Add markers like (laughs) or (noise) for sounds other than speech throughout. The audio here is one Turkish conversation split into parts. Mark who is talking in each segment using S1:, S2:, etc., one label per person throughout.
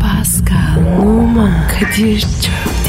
S1: Pascal, Oman, Kadir çok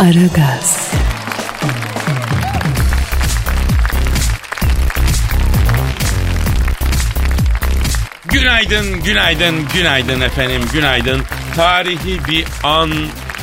S1: Aragaz,
S2: Günaydın, günaydın, günaydın efendim, günaydın. Tarihi bir an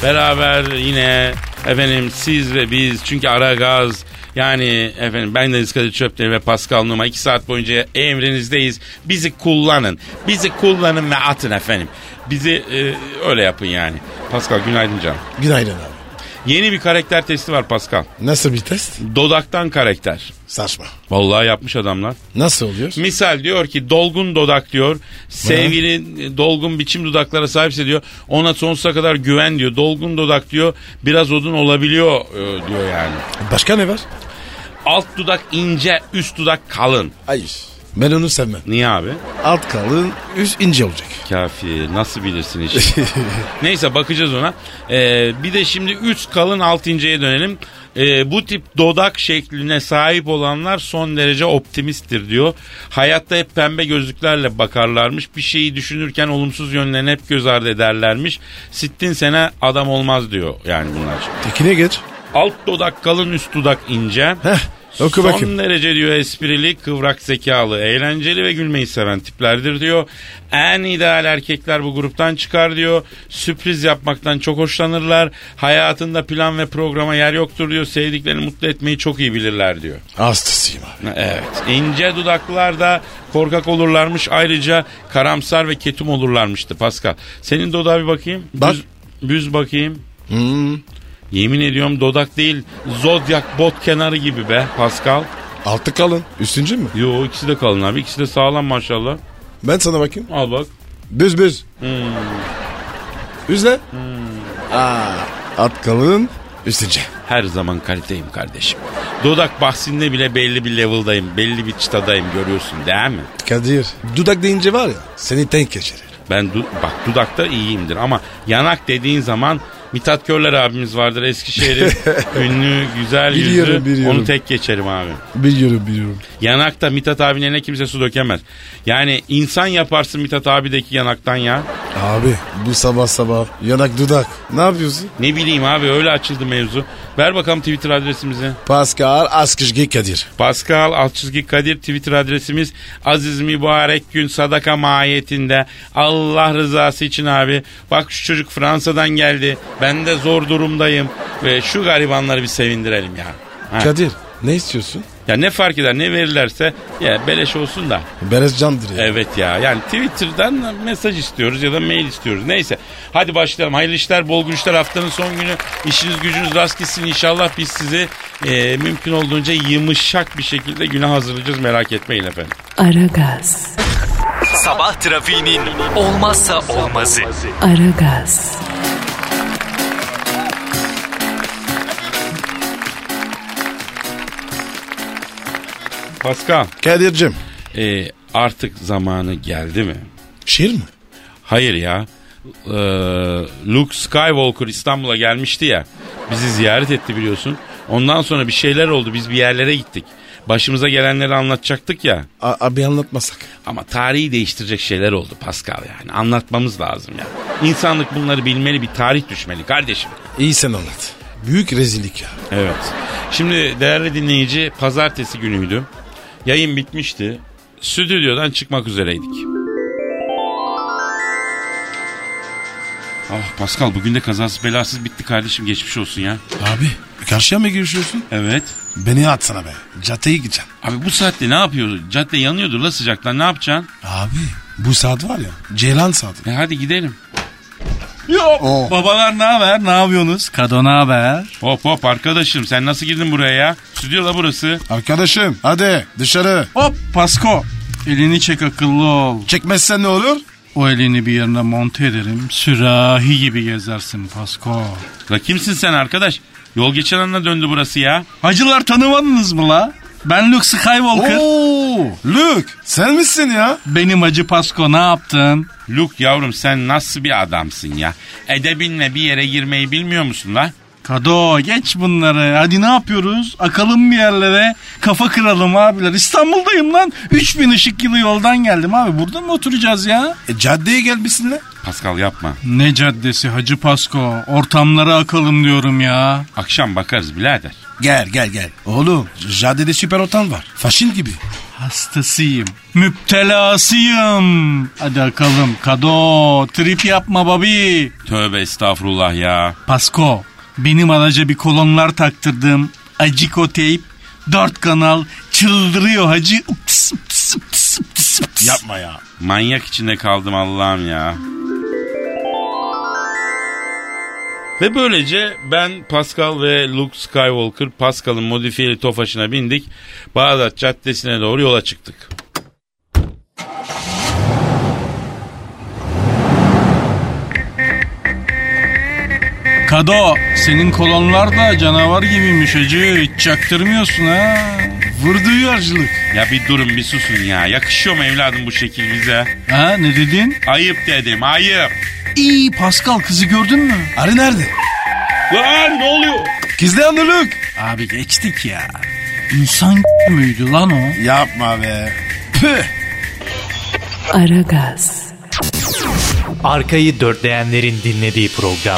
S2: beraber yine efendim siz ve biz çünkü ara gaz yani efendim ben de Kadir Çöpleri ve Pascal Numa 2 saat boyunca emrinizdeyiz. Bizi kullanın. Bizi kullanın ve atın efendim. Bizi e, öyle yapın yani. Pascal günaydın canım.
S3: Günaydın abi.
S2: Yeni bir karakter testi var Pascal.
S3: Nasıl bir test?
S2: Dodaktan karakter.
S3: Saçma.
S2: Vallahi yapmış adamlar.
S3: Nasıl oluyor?
S2: Misal diyor ki dolgun dodak diyor. Sevgili e, dolgun biçim dudaklara sahipse diyor. Ona sonsuza kadar güven diyor. Dolgun dodak diyor. Biraz odun olabiliyor e, diyor yani.
S3: Başka ne var?
S2: Alt dudak ince, üst dudak kalın.
S3: Hayır. Ben onu sevmem.
S2: Niye abi?
S3: Alt kalın, üst ince olacak.
S2: Kafi nasıl bilirsin işi. Neyse bakacağız ona. E, bir de şimdi üst kalın alt inceye dönelim. E, bu tip dodak şekline sahip olanlar son derece optimisttir diyor. Hayatta hep pembe gözlüklerle bakarlarmış. Bir şeyi düşünürken olumsuz yönlerini hep göz ardı ederlermiş. Sittin sene adam olmaz diyor yani bunlar.
S3: Tekine geç.
S2: Alt dudak kalın üst dudak ince.
S3: Heh, oku
S2: Son
S3: bakayım.
S2: derece diyor esprili, kıvrak zekalı, eğlenceli ve gülmeyi seven tiplerdir diyor. En ideal erkekler bu gruptan çıkar diyor. Sürpriz yapmaktan çok hoşlanırlar. Hayatında plan ve programa yer yoktur diyor. Sevdiklerini mutlu etmeyi çok iyi bilirler diyor.
S3: Hastasıyım abi.
S2: Evet. İnce dudaklar da korkak olurlarmış. Ayrıca karamsar ve ketum olurlarmıştı Pascal. Senin dudağa bir bakayım.
S3: Bak.
S2: Büz, büz bakayım. Yemin ediyorum dodak değil. Zodyak bot kenarı gibi be Pascal.
S3: Altı kalın, üstüncü mü?
S2: Yo ikisi de kalın abi. İkisi de sağlam maşallah.
S3: Ben sana bakayım.
S2: Al bak.
S3: Büz büz. Üzle. Hmm. Aa, alt kalın, üst ince.
S2: Her zaman kaliteyim kardeşim. Dodak bahsinde bile belli bir level'dayım. Belli bir çıtadayım görüyorsun değil mi?
S3: Kadir, dudak deyince var ya, seni denk geçirir.
S2: Ben du- bak dudakta iyiyimdir ama yanak dediğin zaman Mithat Körler abimiz vardır Eskişehir'in
S3: (laughs)
S2: ünlü güzel yüzlü.
S3: Biliyorum, biliyorum.
S2: Onu tek geçerim abi.
S3: Biliyorum, biliyorum.
S2: Yanakta Mithat abinin eline kimse su dökemez. Yani insan yaparsın Mithat abideki yanaktan ya.
S3: Abi, bu sabah sabah yanak dudak. Ne yapıyorsun?
S2: Ne bileyim abi öyle açıldı mevzu. Ver bakalım Twitter adresimizi.
S3: Pascal Askışgi Kadir.
S2: Pascal alt çizgi Kadir Twitter adresimiz Aziz Mübarek Gün sadaka mahiyetinde Allah rızası için abi bak şu çocuk Fransa'dan geldi ben de zor durumdayım ve şu garibanları bir sevindirelim ya. Ha.
S3: Kadir, ne istiyorsun?
S2: Ya ne fark eder ne verirlerse ya beleş olsun da.
S3: Beres candır ya.
S2: Evet ya yani Twitter'dan mesaj istiyoruz ya da mail istiyoruz. Neyse hadi başlayalım. Hayırlı işler, bol güçler haftanın son günü. İşiniz gücünüz rast gitsin inşallah biz sizi e, mümkün olduğunca yumuşak bir şekilde güne hazırlayacağız merak etmeyin efendim.
S1: Aragaz,
S4: Sabah trafiğinin olmazsa olmazı.
S1: Aragaz,
S2: Pascal
S3: Kadir'cim.
S2: e, artık zamanı geldi mi?
S3: Şiir mi?
S2: Hayır ya. Ee, Luke Skywalker İstanbul'a gelmişti ya. Bizi ziyaret etti biliyorsun. Ondan sonra bir şeyler oldu. Biz bir yerlere gittik. Başımıza gelenleri anlatacaktık ya.
S3: A- abi anlatmasak.
S2: Ama tarihi değiştirecek şeyler oldu Pascal yani. Anlatmamız lazım ya. İnsanlık bunları bilmeli bir tarih düşmeli kardeşim.
S3: İyi sen anlat. Büyük rezillik ya.
S2: Evet. Şimdi değerli dinleyici pazartesi günüydü. Yayın bitmişti. Stüdyodan çıkmak üzereydik. Ah Pascal bugün de kazasız belasız bitti kardeşim geçmiş olsun ya.
S3: Abi karşıya mı girişiyorsun?
S2: Evet.
S3: Beni atsana be. Cate'ye gideceğim.
S2: Abi bu saatte ne yapıyor? Cadde yanıyordur la sıcaktan ne yapacaksın?
S3: Abi bu saat var ya. Ceylan saati.
S2: E hadi gidelim.
S3: Oo.
S5: Babalar ne haber? Ne yapıyorsunuz? Kadın haber?
S2: Hop hop arkadaşım sen nasıl girdin buraya ya? Stüdyo la burası.
S3: Arkadaşım hadi dışarı.
S5: Hop Pasko. Elini çek akıllı ol.
S3: Çekmezsen ne olur?
S5: O elini bir yerine monte ederim. Sürahi gibi gezersin Pasko.
S2: La kimsin sen arkadaş? Yol geçen anına döndü burası ya.
S5: Hacılar tanımadınız mı la? Ben Luke Skywalker.
S3: Oo, Luke sen misin ya?
S5: Benim acı Pasko ne yaptın?
S2: Luke yavrum sen nasıl bir adamsın ya? Edebinle bir yere girmeyi bilmiyor musun la?
S5: Kado geç bunları. Hadi ne yapıyoruz? Akalım bir yerlere. Kafa kıralım abiler. İstanbul'dayım lan. 3000 ışık yılı yoldan geldim abi. Burada mı oturacağız ya?
S3: E, caddeye gelmişsin lan.
S2: Pascal yapma.
S5: Ne caddesi Hacı Pasko? Ortamlara akalım diyorum ya.
S2: Akşam bakarız birader.
S3: Gel gel gel. Oğlum caddede süper otan var. Faşin gibi.
S5: Hastasıyım. Müptelasıyım. Hadi akalım. Kado. Trip yapma babi.
S2: Tövbe estağfurullah ya.
S5: Pasko. Benim araca bir kolonlar taktırdım. Aciko teyp. Dört kanal. Çıldırıyor hacı. Ups, ups, ups, ups, ups.
S3: Yapma ya.
S2: Manyak içinde kaldım Allah'ım ya. Ve böylece ben Pascal ve Luke Skywalker Pascal'ın modifiyeli Tofaş'ına bindik. Bağdat Caddesi'ne doğru yola çıktık.
S5: Kado. Senin kolonlar da canavar gibiymiş hacı. Hiç çaktırmıyorsun ha. Vurduğu harcılık.
S2: Ya bir durun bir susun ya. Yakışıyor mu evladım bu şekil bize?
S5: Ha ne dedin?
S2: Ayıp dedim ayıp.
S5: İyi Pascal kızı gördün mü?
S3: Arı nerede?
S2: Lan ne oluyor?
S3: Kızlayan Luke.
S5: Abi geçtik ya. İnsan (laughs) müydü lan o?
S3: Yapma be. Püh.
S1: Aragaz,
S4: Arkayı dörtleyenlerin dinlediği program.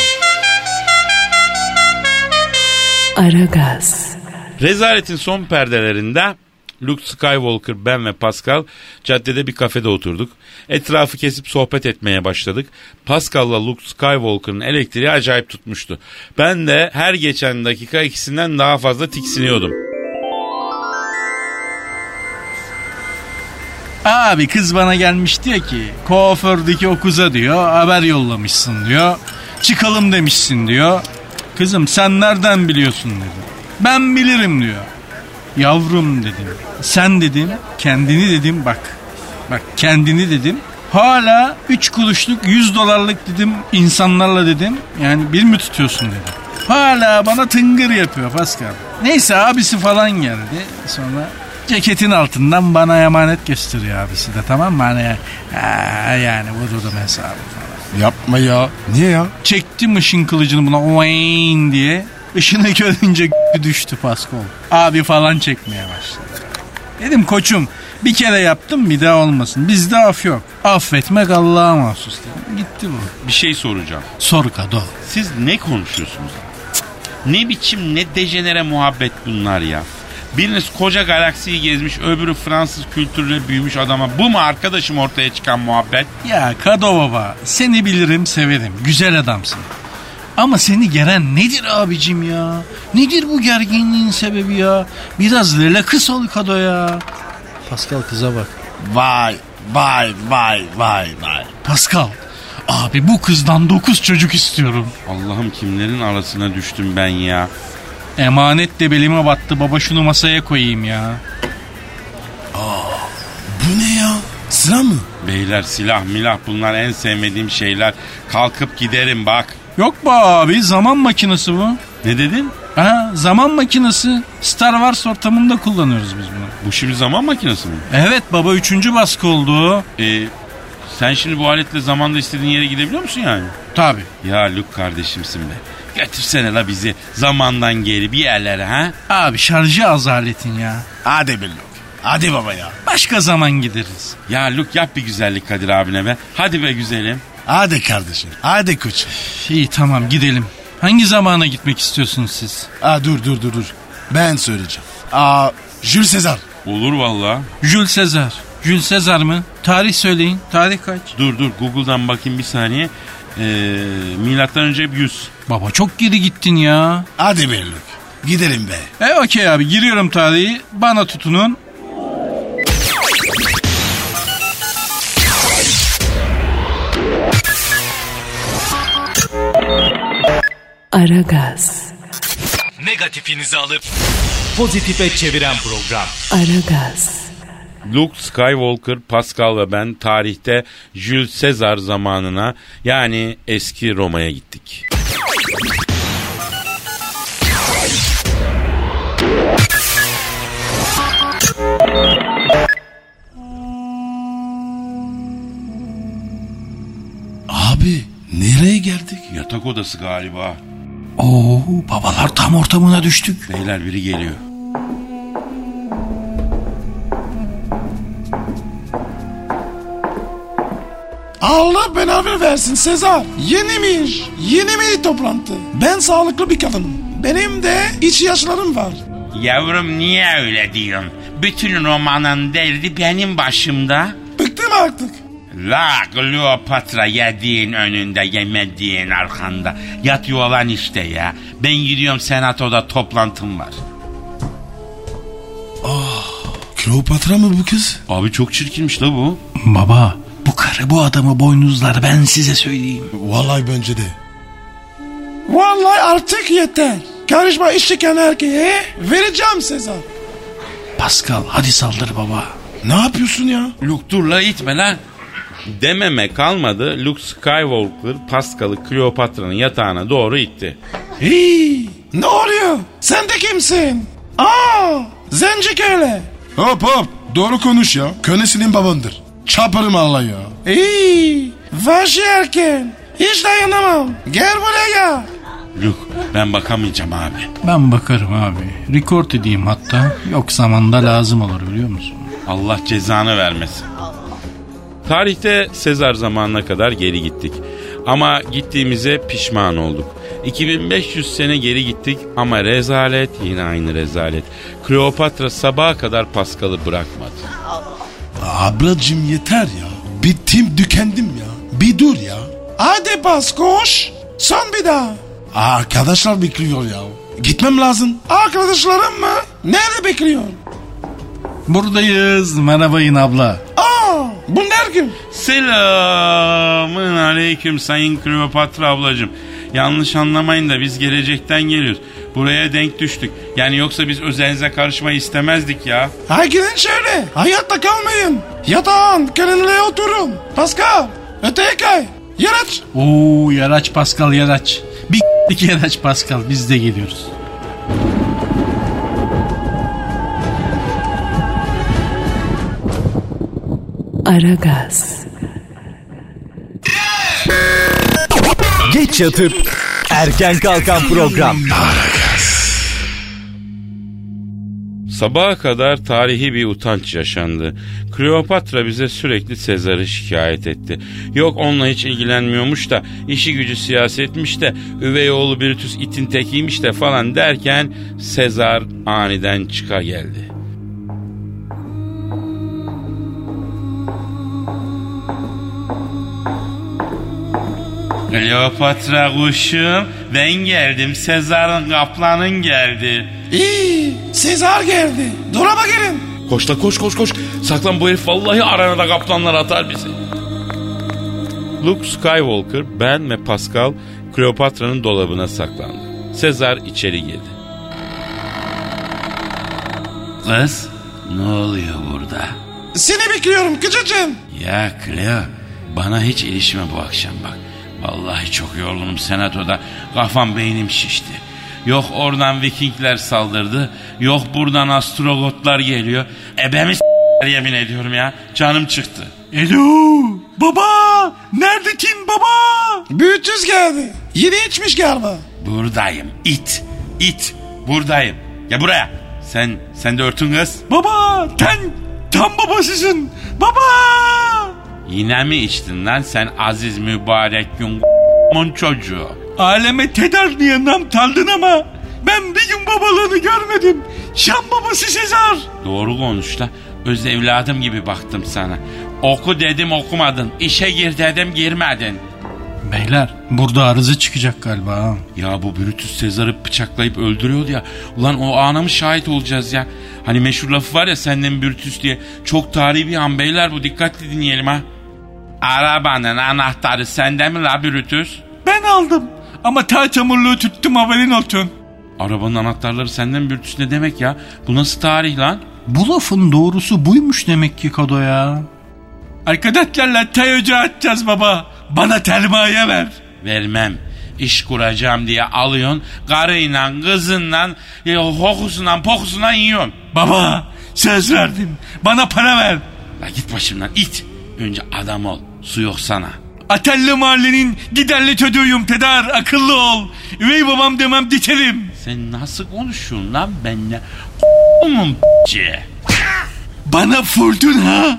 S1: Aragaz,
S2: Rezaletin son perdelerinde Luke Skywalker, ben ve Pascal caddede bir kafede oturduk. Etrafı kesip sohbet etmeye başladık. Pascal'la Luke Skywalker'ın elektriği acayip tutmuştu. Ben de her geçen dakika ikisinden daha fazla tiksiniyordum.
S5: Abi kız bana gelmiş diyor ki kuafördeki o kuza diyor haber yollamışsın diyor. Çıkalım demişsin diyor. Kızım sen nereden biliyorsun dedim. Ben bilirim diyor. Yavrum dedim. Sen dedim kendini dedim bak. Bak kendini dedim. Hala 3 kuruşluk 100 dolarlık dedim insanlarla dedim. Yani bir mi tutuyorsun dedim. Hala bana tıngır yapıyor Pascal. Neyse abisi falan geldi. Sonra ceketin altından bana emanet gösteriyor abisi de tamam mı? Hani "Aa, yani vururum hesabı falan.
S3: Yapma ya. Niye ya?
S5: Çektim ışın kılıcını buna oyn diye. Işını (laughs) görünce düştü Pascal. Abi falan çekmeye başladı. Dedim koçum bir kere yaptım bir daha olmasın. Bizde af yok. Affetmek Allah'a mahsus dedim. Gitti bu.
S2: Bir şey soracağım.
S5: Sor kado.
S2: Siz ne konuşuyorsunuz? Cık, Ne biçim ne dejenere muhabbet bunlar ya. Biriniz koca galaksiyi gezmiş öbürü Fransız kültürüne büyümüş adama bu mu arkadaşım ortaya çıkan muhabbet?
S5: Ya Kado baba seni bilirim severim güzel adamsın. Ama seni geren nedir abicim ya? Nedir bu gerginliğin sebebi ya? Biraz lele kıs ol Kado ya. Pascal kıza bak.
S3: Vay vay vay vay vay.
S5: Pascal abi bu kızdan 9 çocuk istiyorum.
S2: Allah'ım kimlerin arasına düştüm ben ya.
S5: Emanet de belime battı baba şunu masaya koyayım ya.
S3: Bu ne ya? Sıra mı?
S2: Beyler silah milah bunlar en sevmediğim şeyler. Kalkıp giderim bak.
S5: Yok be abi zaman makinesi bu.
S2: Ne dedin?
S5: Ha, zaman makinesi. Star Wars ortamında kullanıyoruz biz bunu.
S2: Bu şimdi zaman makinesi mi?
S5: Evet baba üçüncü baskı oldu.
S2: Ee, sen şimdi bu aletle zamanda istediğin yere gidebiliyor musun yani?
S5: Tabi.
S2: Ya Luke kardeşimsin be. Götürsene la bizi zamandan geri bir yerlere ha.
S5: Abi şarjı az aletin ya.
S3: Hadi be Luke. Hadi baba ya.
S5: Başka zaman gideriz.
S2: Ya Luke yap bir güzellik Kadir abine be. Hadi be güzelim.
S3: Hadi kardeşim. Hadi koçum.
S5: İyi tamam gidelim. Hangi zamana gitmek istiyorsunuz siz?
S3: Aa, dur dur dur dur. Ben söyleyeceğim. Aa, Jules Sezar.
S2: Olur valla.
S5: Jules Sezar. Jules Sezar mı? Tarih söyleyin. Tarih kaç?
S2: Dur dur Google'dan bakayım bir saniye. Ee, milattan önce 100.
S5: Baba çok geri gittin ya.
S3: Hadi be Luke. Gidelim be.
S5: E okey abi giriyorum tarihi. Bana tutunun.
S1: Aragaz,
S4: Negatifinizi alıp pozitife çeviren program.
S1: Aragaz,
S2: Luke Skywalker, Pascal ve ben tarihte Jules Caesar zamanına yani eski Roma'ya gittik.
S6: Abi nereye geldik?
S2: Yatak odası galiba.
S6: Oo babalar tam ortamına düştük.
S2: Beyler biri geliyor.
S6: Allah beraber versin Sezar. Yeni mi iş? Yeni mi toplantı? Ben sağlıklı bir kadınım. Benim de ihtiyaçlarım var.
S2: Yavrum niye öyle diyorsun? Bütün romanın derdi benim başımda.
S6: Bıktım artık.
S2: La Kleopatra yediğin önünde yemediğin arkanda. Yat yuvalan işte ya. Ben gidiyorum senatoda toplantım var.
S6: Kleopatra mı bu kız?
S2: Abi çok çirkinmiş la bu.
S6: Baba bu karı bu adamı boynuzlar ben size söyleyeyim.
S3: Vallahi bence de.
S6: Vallahi artık yeter. Karışma iş çıkan erkeğe vereceğim Sezar. Pascal hadi saldır baba.
S3: Ne yapıyorsun ya?
S2: Luke dur la itme lan. Dememe kalmadı Luke Skywalker Paskal'ı Kleopatra'nın yatağına doğru itti.
S6: Hii, ne oluyor? Sen de kimsin? Aa, zenci köle.
S3: Hop hop doğru konuş ya. Könesinin babandır. Çaparım Allah ya.
S6: Hii, vahşi erken. Hiç dayanamam. Gel buraya gel.
S2: Luke ben bakamayacağım abi.
S5: Ben bakarım abi. Rekord edeyim hatta. Yok zamanda lazım olur biliyor musun?
S2: Allah cezanı vermesin. Tarihte Sezar zamanına kadar geri gittik. Ama gittiğimize pişman olduk. 2500 sene geri gittik ama rezalet yine aynı rezalet. Kleopatra sabaha kadar Paskal'ı bırakmadı.
S3: Ablacım yeter ya. Bittim tükendim ya. Bir dur ya.
S6: Hadi bas koş. Son bir daha.
S3: Arkadaşlar bekliyor ya. Gitmem lazım.
S6: Arkadaşlarım mı? Nerede bekliyor?
S5: Buradayız. Merhabayın abla.
S6: Aa, bunlar kim?
S2: Selamın aleyküm Sayın Kleopatra ablacığım. Yanlış anlamayın da biz gelecekten geliyoruz. Buraya denk düştük. Yani yoksa biz özenize karışmayı istemezdik ya.
S6: Ha gidin şöyle. Hayatta kalmayın. Yatağın kendine oturun. Pascal, öteye kay. Yaraç.
S5: Oo yaraç Pascal yaraç. Bir (laughs) iki yaraç Pascal biz de geliyoruz.
S1: Aragaz,
S4: Geç yatıp erken kalkan program.
S2: Sabaha kadar tarihi bir utanç yaşandı. Kleopatra bize sürekli Sezar'ı şikayet etti. Yok onunla hiç ilgilenmiyormuş da, işi gücü siyasetmiş de, üvey oğlu Brutus itin tekiymiş de falan derken Sezar aniden çıka geldi. Kleopatra kuşum ben geldim Sezar'ın kaplanın geldi.
S6: İyi, Sezar geldi. Dolaba girin.
S2: Koş la koş koş koş. Saklan bu herif vallahi arana da kaplanlar atar bizi. Luke Skywalker, ben ve Pascal Kleopatra'nın dolabına saklandı. Sezar içeri girdi. Kız ne oluyor burada?
S6: Seni bekliyorum küçücüğüm.
S2: Ya Cleo bana hiç ilişme bu akşam bak. Vallahi çok yorgunum senatoda. Kafam beynim şişti. Yok oradan Vikingler saldırdı. Yok buradan astrogotlar geliyor. E Ebemi s- yemin ediyorum ya. Canım çıktı.
S5: Alo baba neredekin baba?
S6: Büyütüz geldi. Yeni içmiş galiba.
S2: Buradayım. it. it. Buradayım. Ya buraya. Sen sen de örtün kız.
S5: Baba sen tam babasısın baba.
S2: Yine mi içtin lan sen aziz mübarek gün mon çocuğu?
S5: Aleme tedarniye nam taldın ama ben bir gün babalığını görmedim. Şam babası Sezar.
S2: Doğru konuş la. Öz evladım gibi baktım sana. Oku dedim okumadın. İşe gir dedim girmedin.
S5: Beyler burada arıza çıkacak galiba ha.
S2: Ya bu Brutus Sezar'ı bıçaklayıp öldürüyordu ya. Ulan o ana mı şahit olacağız ya? Hani meşhur lafı var ya senden Brutus diye. Çok tarihi bir an beyler bu dikkatli dinleyelim ha. Arabanın anahtarı sende mi la Brutus?
S5: Ben aldım ama tel çamurluğu tuttum haberin olsun.
S2: Arabanın anahtarları senden Brutus ne demek ya? Bu nasıl tarih lan?
S5: Bu lafın doğrusu buymuş demek ki Kado ya. Arkadaşlarla çay ocağı atacağız baba. Bana termaye ver.
S2: Vermem. İş kuracağım diye alıyorsun. Karıyla, kızınla, e, hokusundan, pokusundan yiyorsun.
S5: Baba söz verdim. Bana para ver.
S2: La git başımdan it. Önce adam ol. Su yok sana.
S5: Atelli mahallenin giderli çocuğuyum Tedar akıllı ol. Üvey babam demem dikerim.
S2: Sen nasıl konuşuyorsun lan benimle? Oğlum
S5: Bana fırtına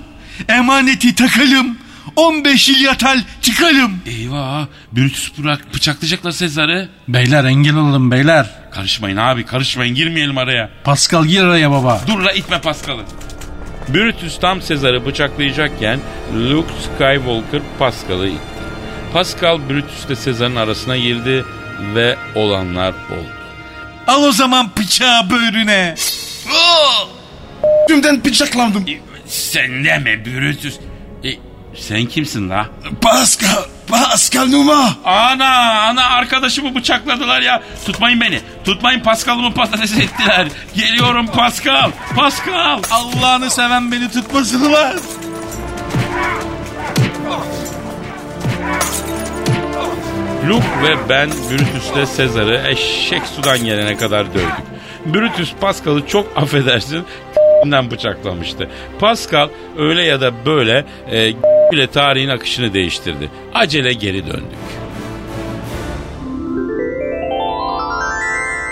S5: emaneti takalım. 15 yıl yatal çıkalım.
S2: Eyvah. Brutus bırak bıçaklayacaklar Sezar'ı.
S5: Beyler engel olalım beyler.
S2: Karışmayın abi karışmayın girmeyelim araya.
S5: Pascal gir araya baba.
S2: Dur la itme Paskal'ı. Brutus tam Sezar'ı bıçaklayacakken Luke Skywalker Paskal'ı itti. Pascal Brutus ile Sezar'ın arasına girdi ve olanlar oldu.
S5: Al o zaman bıçağı böğrüne.
S6: Tümden bıçaklandım.
S2: Sen deme Brutus. E, sen kimsin la?
S6: Pascal, Pascal Numa.
S2: Ana ana arkadaşımı bıçakladılar ya. Tutmayın beni. Tutmayın Pascal'ımı patates ettiler. Geliyorum Pascal. Pascal.
S5: Allah'ını seven beni tutmasın var.
S2: Luke ve ben Brutus'le Sezar'ı eşek sudan gelene kadar dövdük. Brutus Pascal'ı çok affedersin (laughs) ***'den bıçaklamıştı. Pascal öyle ya da böyle e, (laughs) bile tarihin akışını değiştirdi. Acele geri döndük.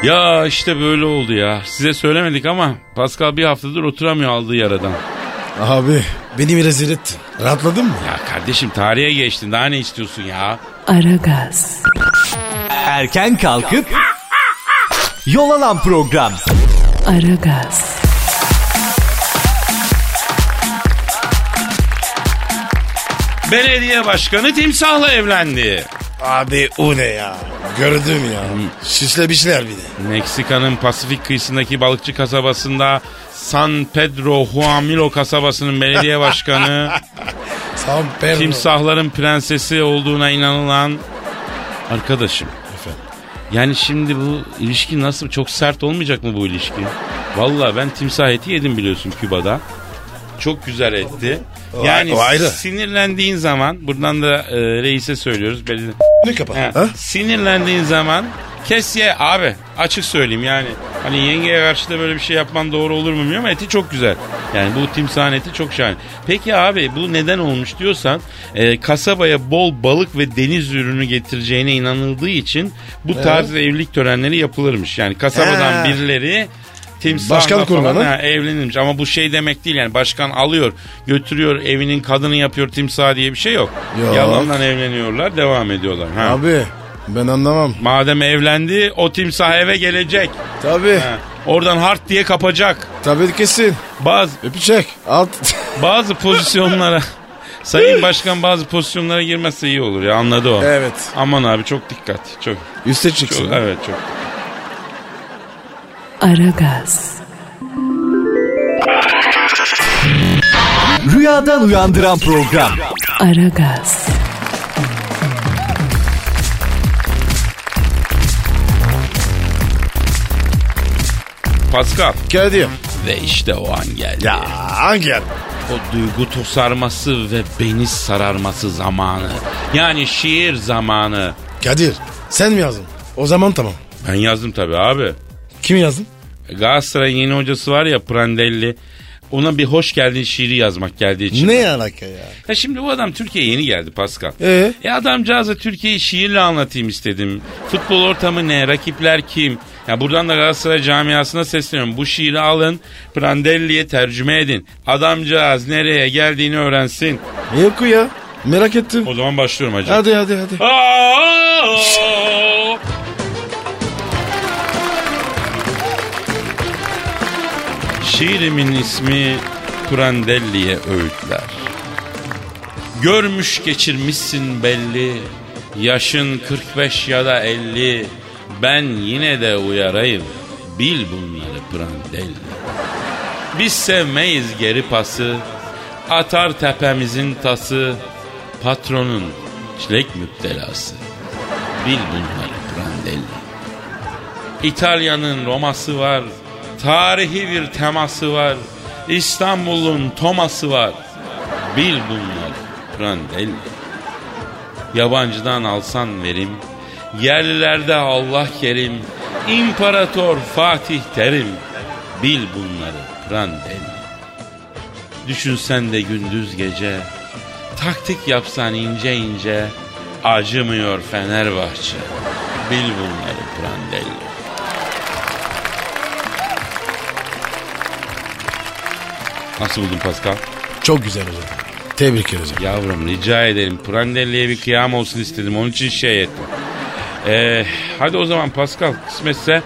S2: Ya işte böyle oldu ya. Size söylemedik ama Pascal bir haftadır oturamıyor aldığı yaradan.
S7: Abi beni rezil ettin. Rahatladın mı?
S2: Ya kardeşim tarihe geçtin daha ne istiyorsun ya?
S1: Aragaz,
S4: Erken kalkıp yol alan program.
S1: Aragaz,
S2: Belediye başkanı timsahla evlendi.
S7: Abi o ne ya? Gördüm ya. Şişlemişler bir de.
S2: Meksika'nın Pasifik kıyısındaki balıkçı kasabasında San Pedro Huamilo kasabasının belediye başkanı
S7: Tam perno.
S2: timsahların prensesi olduğuna inanılan arkadaşım. Yani şimdi bu ilişki nasıl çok sert olmayacak mı bu ilişki? Vallahi ben timsah eti yedim biliyorsun Küba'da. Çok güzel etti. Yani
S7: o ayrı.
S2: sinirlendiğin zaman buradan da e, reise söylüyoruz. belediye-
S7: Ne kapat?
S2: He.
S7: Ha?
S2: Sinirlendiğin zaman kes ye abi. Açık söyleyeyim yani. Hani yengeye karşı da böyle bir şey yapman doğru olur mu bilmiyorum ama eti çok güzel. Yani bu timsahın eti çok şahane. Peki abi bu neden olmuş diyorsan e, kasabaya bol balık ve deniz ürünü getireceğine inanıldığı için bu tarz evlilik törenleri yapılırmış. Yani kasabadan
S7: He.
S2: birileri timsahla
S7: Başkan
S2: falan
S7: kurbanı.
S2: ha, evlenirmiş. Ama bu şey demek değil yani başkan alıyor götürüyor evinin kadını yapıyor timsah diye bir şey yok.
S7: Yok.
S2: Yalandan evleniyorlar devam ediyorlar. Ha.
S7: Abi ben anlamam.
S2: Madem evlendi o timsah eve gelecek.
S7: Tabi.
S2: Ha, Oradan hart diye kapacak.
S7: Tabi kesin.
S2: Bazı
S7: Öpecek. Alt. (laughs)
S2: bazı pozisyonlara Sayın Başkan bazı pozisyonlara girmezse iyi olur ya anladı o.
S7: Evet.
S2: Aman abi çok dikkat. Çok,
S7: Üste
S2: çok
S7: çıksın.
S2: evet çok.
S1: Aragaz,
S4: Rüyadan uyandıran program.
S1: Aragaz,
S2: Pascal
S7: Kadir.
S2: ve işte o an geldi.
S7: Ya hangi yer?
S2: O duygu tosarması ve beni sararması zamanı. Yani şiir zamanı.
S7: Kadir sen mi yazdın? O zaman tamam.
S2: Ben yazdım tabii abi.
S7: Kim yazdın?
S2: Galatasaray'ın yeni hocası var ya Prandelli. Ona bir hoş geldin şiiri yazmak geldiği için.
S7: Ne alaka ya?
S2: Ya şimdi bu adam Türkiye'ye yeni geldi Pascal.
S7: Ee?
S2: E adamcağıza Türkiye'yi şiirle anlatayım istedim. Futbol ortamı ne? Rakipler kim? Ya buradan da Galatasaray camiasına sesleniyorum. Bu şiiri alın, Prandelli'ye tercüme edin. Adamcağız nereye geldiğini öğrensin.
S7: Ne oku ya? Merak ettim.
S2: O zaman başlıyorum hacı.
S7: Hadi hadi hadi.
S2: Aa! (laughs) Şiirimin ismi Prandelli'ye öğütler. Görmüş geçirmişsin belli, yaşın 45 ya da 50. Ben yine de uyarayım, bil bunları Prandelli. Biz sevmeyiz geri pası. Atar tepemizin tası. Patronun çilek müptelası. Bil bunları Prandelli. İtalya'nın Roma'sı var. Tarihi bir teması var. İstanbul'un Thomas'ı var. Bil bunları. Prandelli. Yabancıdan alsan verim. Yerlilerde Allah kerim. İmparator Fatih Terim. Bil bunları Prandelli. Düşünsen de gündüz gece. Taktik yapsan ince ince. Acımıyor Fenerbahçe. Bil bunları Prandelli. Nasıl buldun Pascal?
S7: Çok güzel hocam. Tebrik hocam.
S2: Yavrum rica ederim. Prandelli'ye bir kıyam olsun istedim. Onun için şey ettim. Ee, hadi o zaman Pascal kısmetse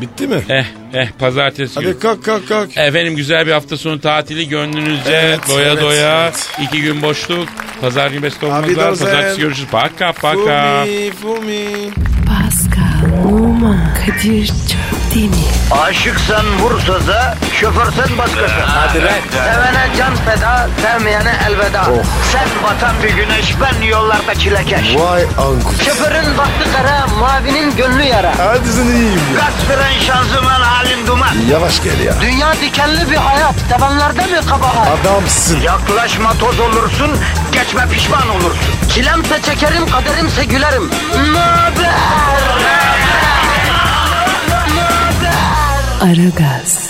S7: Bitti mi?
S2: eh eh pazartesi günü.
S7: Hadi kalk kalk kalk.
S2: Efendim güzel bir hafta sonu tatili gönlünüzce
S7: Evet,
S2: doya
S7: evet,
S2: doya.
S7: evet.
S2: iki gün boşluk. Pazar günü best olmaz.
S7: Abidozen.
S2: Pazartesi görüşürüz. Paka paka.
S7: Fumi, Fumi.
S1: Pascal, Oman, Kadir çok değil mi?
S8: Aşıksan vursa da, şoförsen başkasın. Hadi Sevene can feda, sevmeyene elveda. Sen batan bir güneş, ben yollarda çilekeş.
S7: Vay anku.
S8: Şoförün baktı kara, mavinin gönlü yara.
S7: Hadi sen iyiyim ya.
S8: Kasperen şanzıman halin duman.
S7: Yavaş gel ya.
S8: Dünya dikenli bir hayat, sevenlerde mi kabahar?
S7: Adamsın.
S8: Yaklaşma toz olursun, geçme pişman olursun. Çilemse çekerim, kaderimse gülerim. Möber!
S1: Aragaz.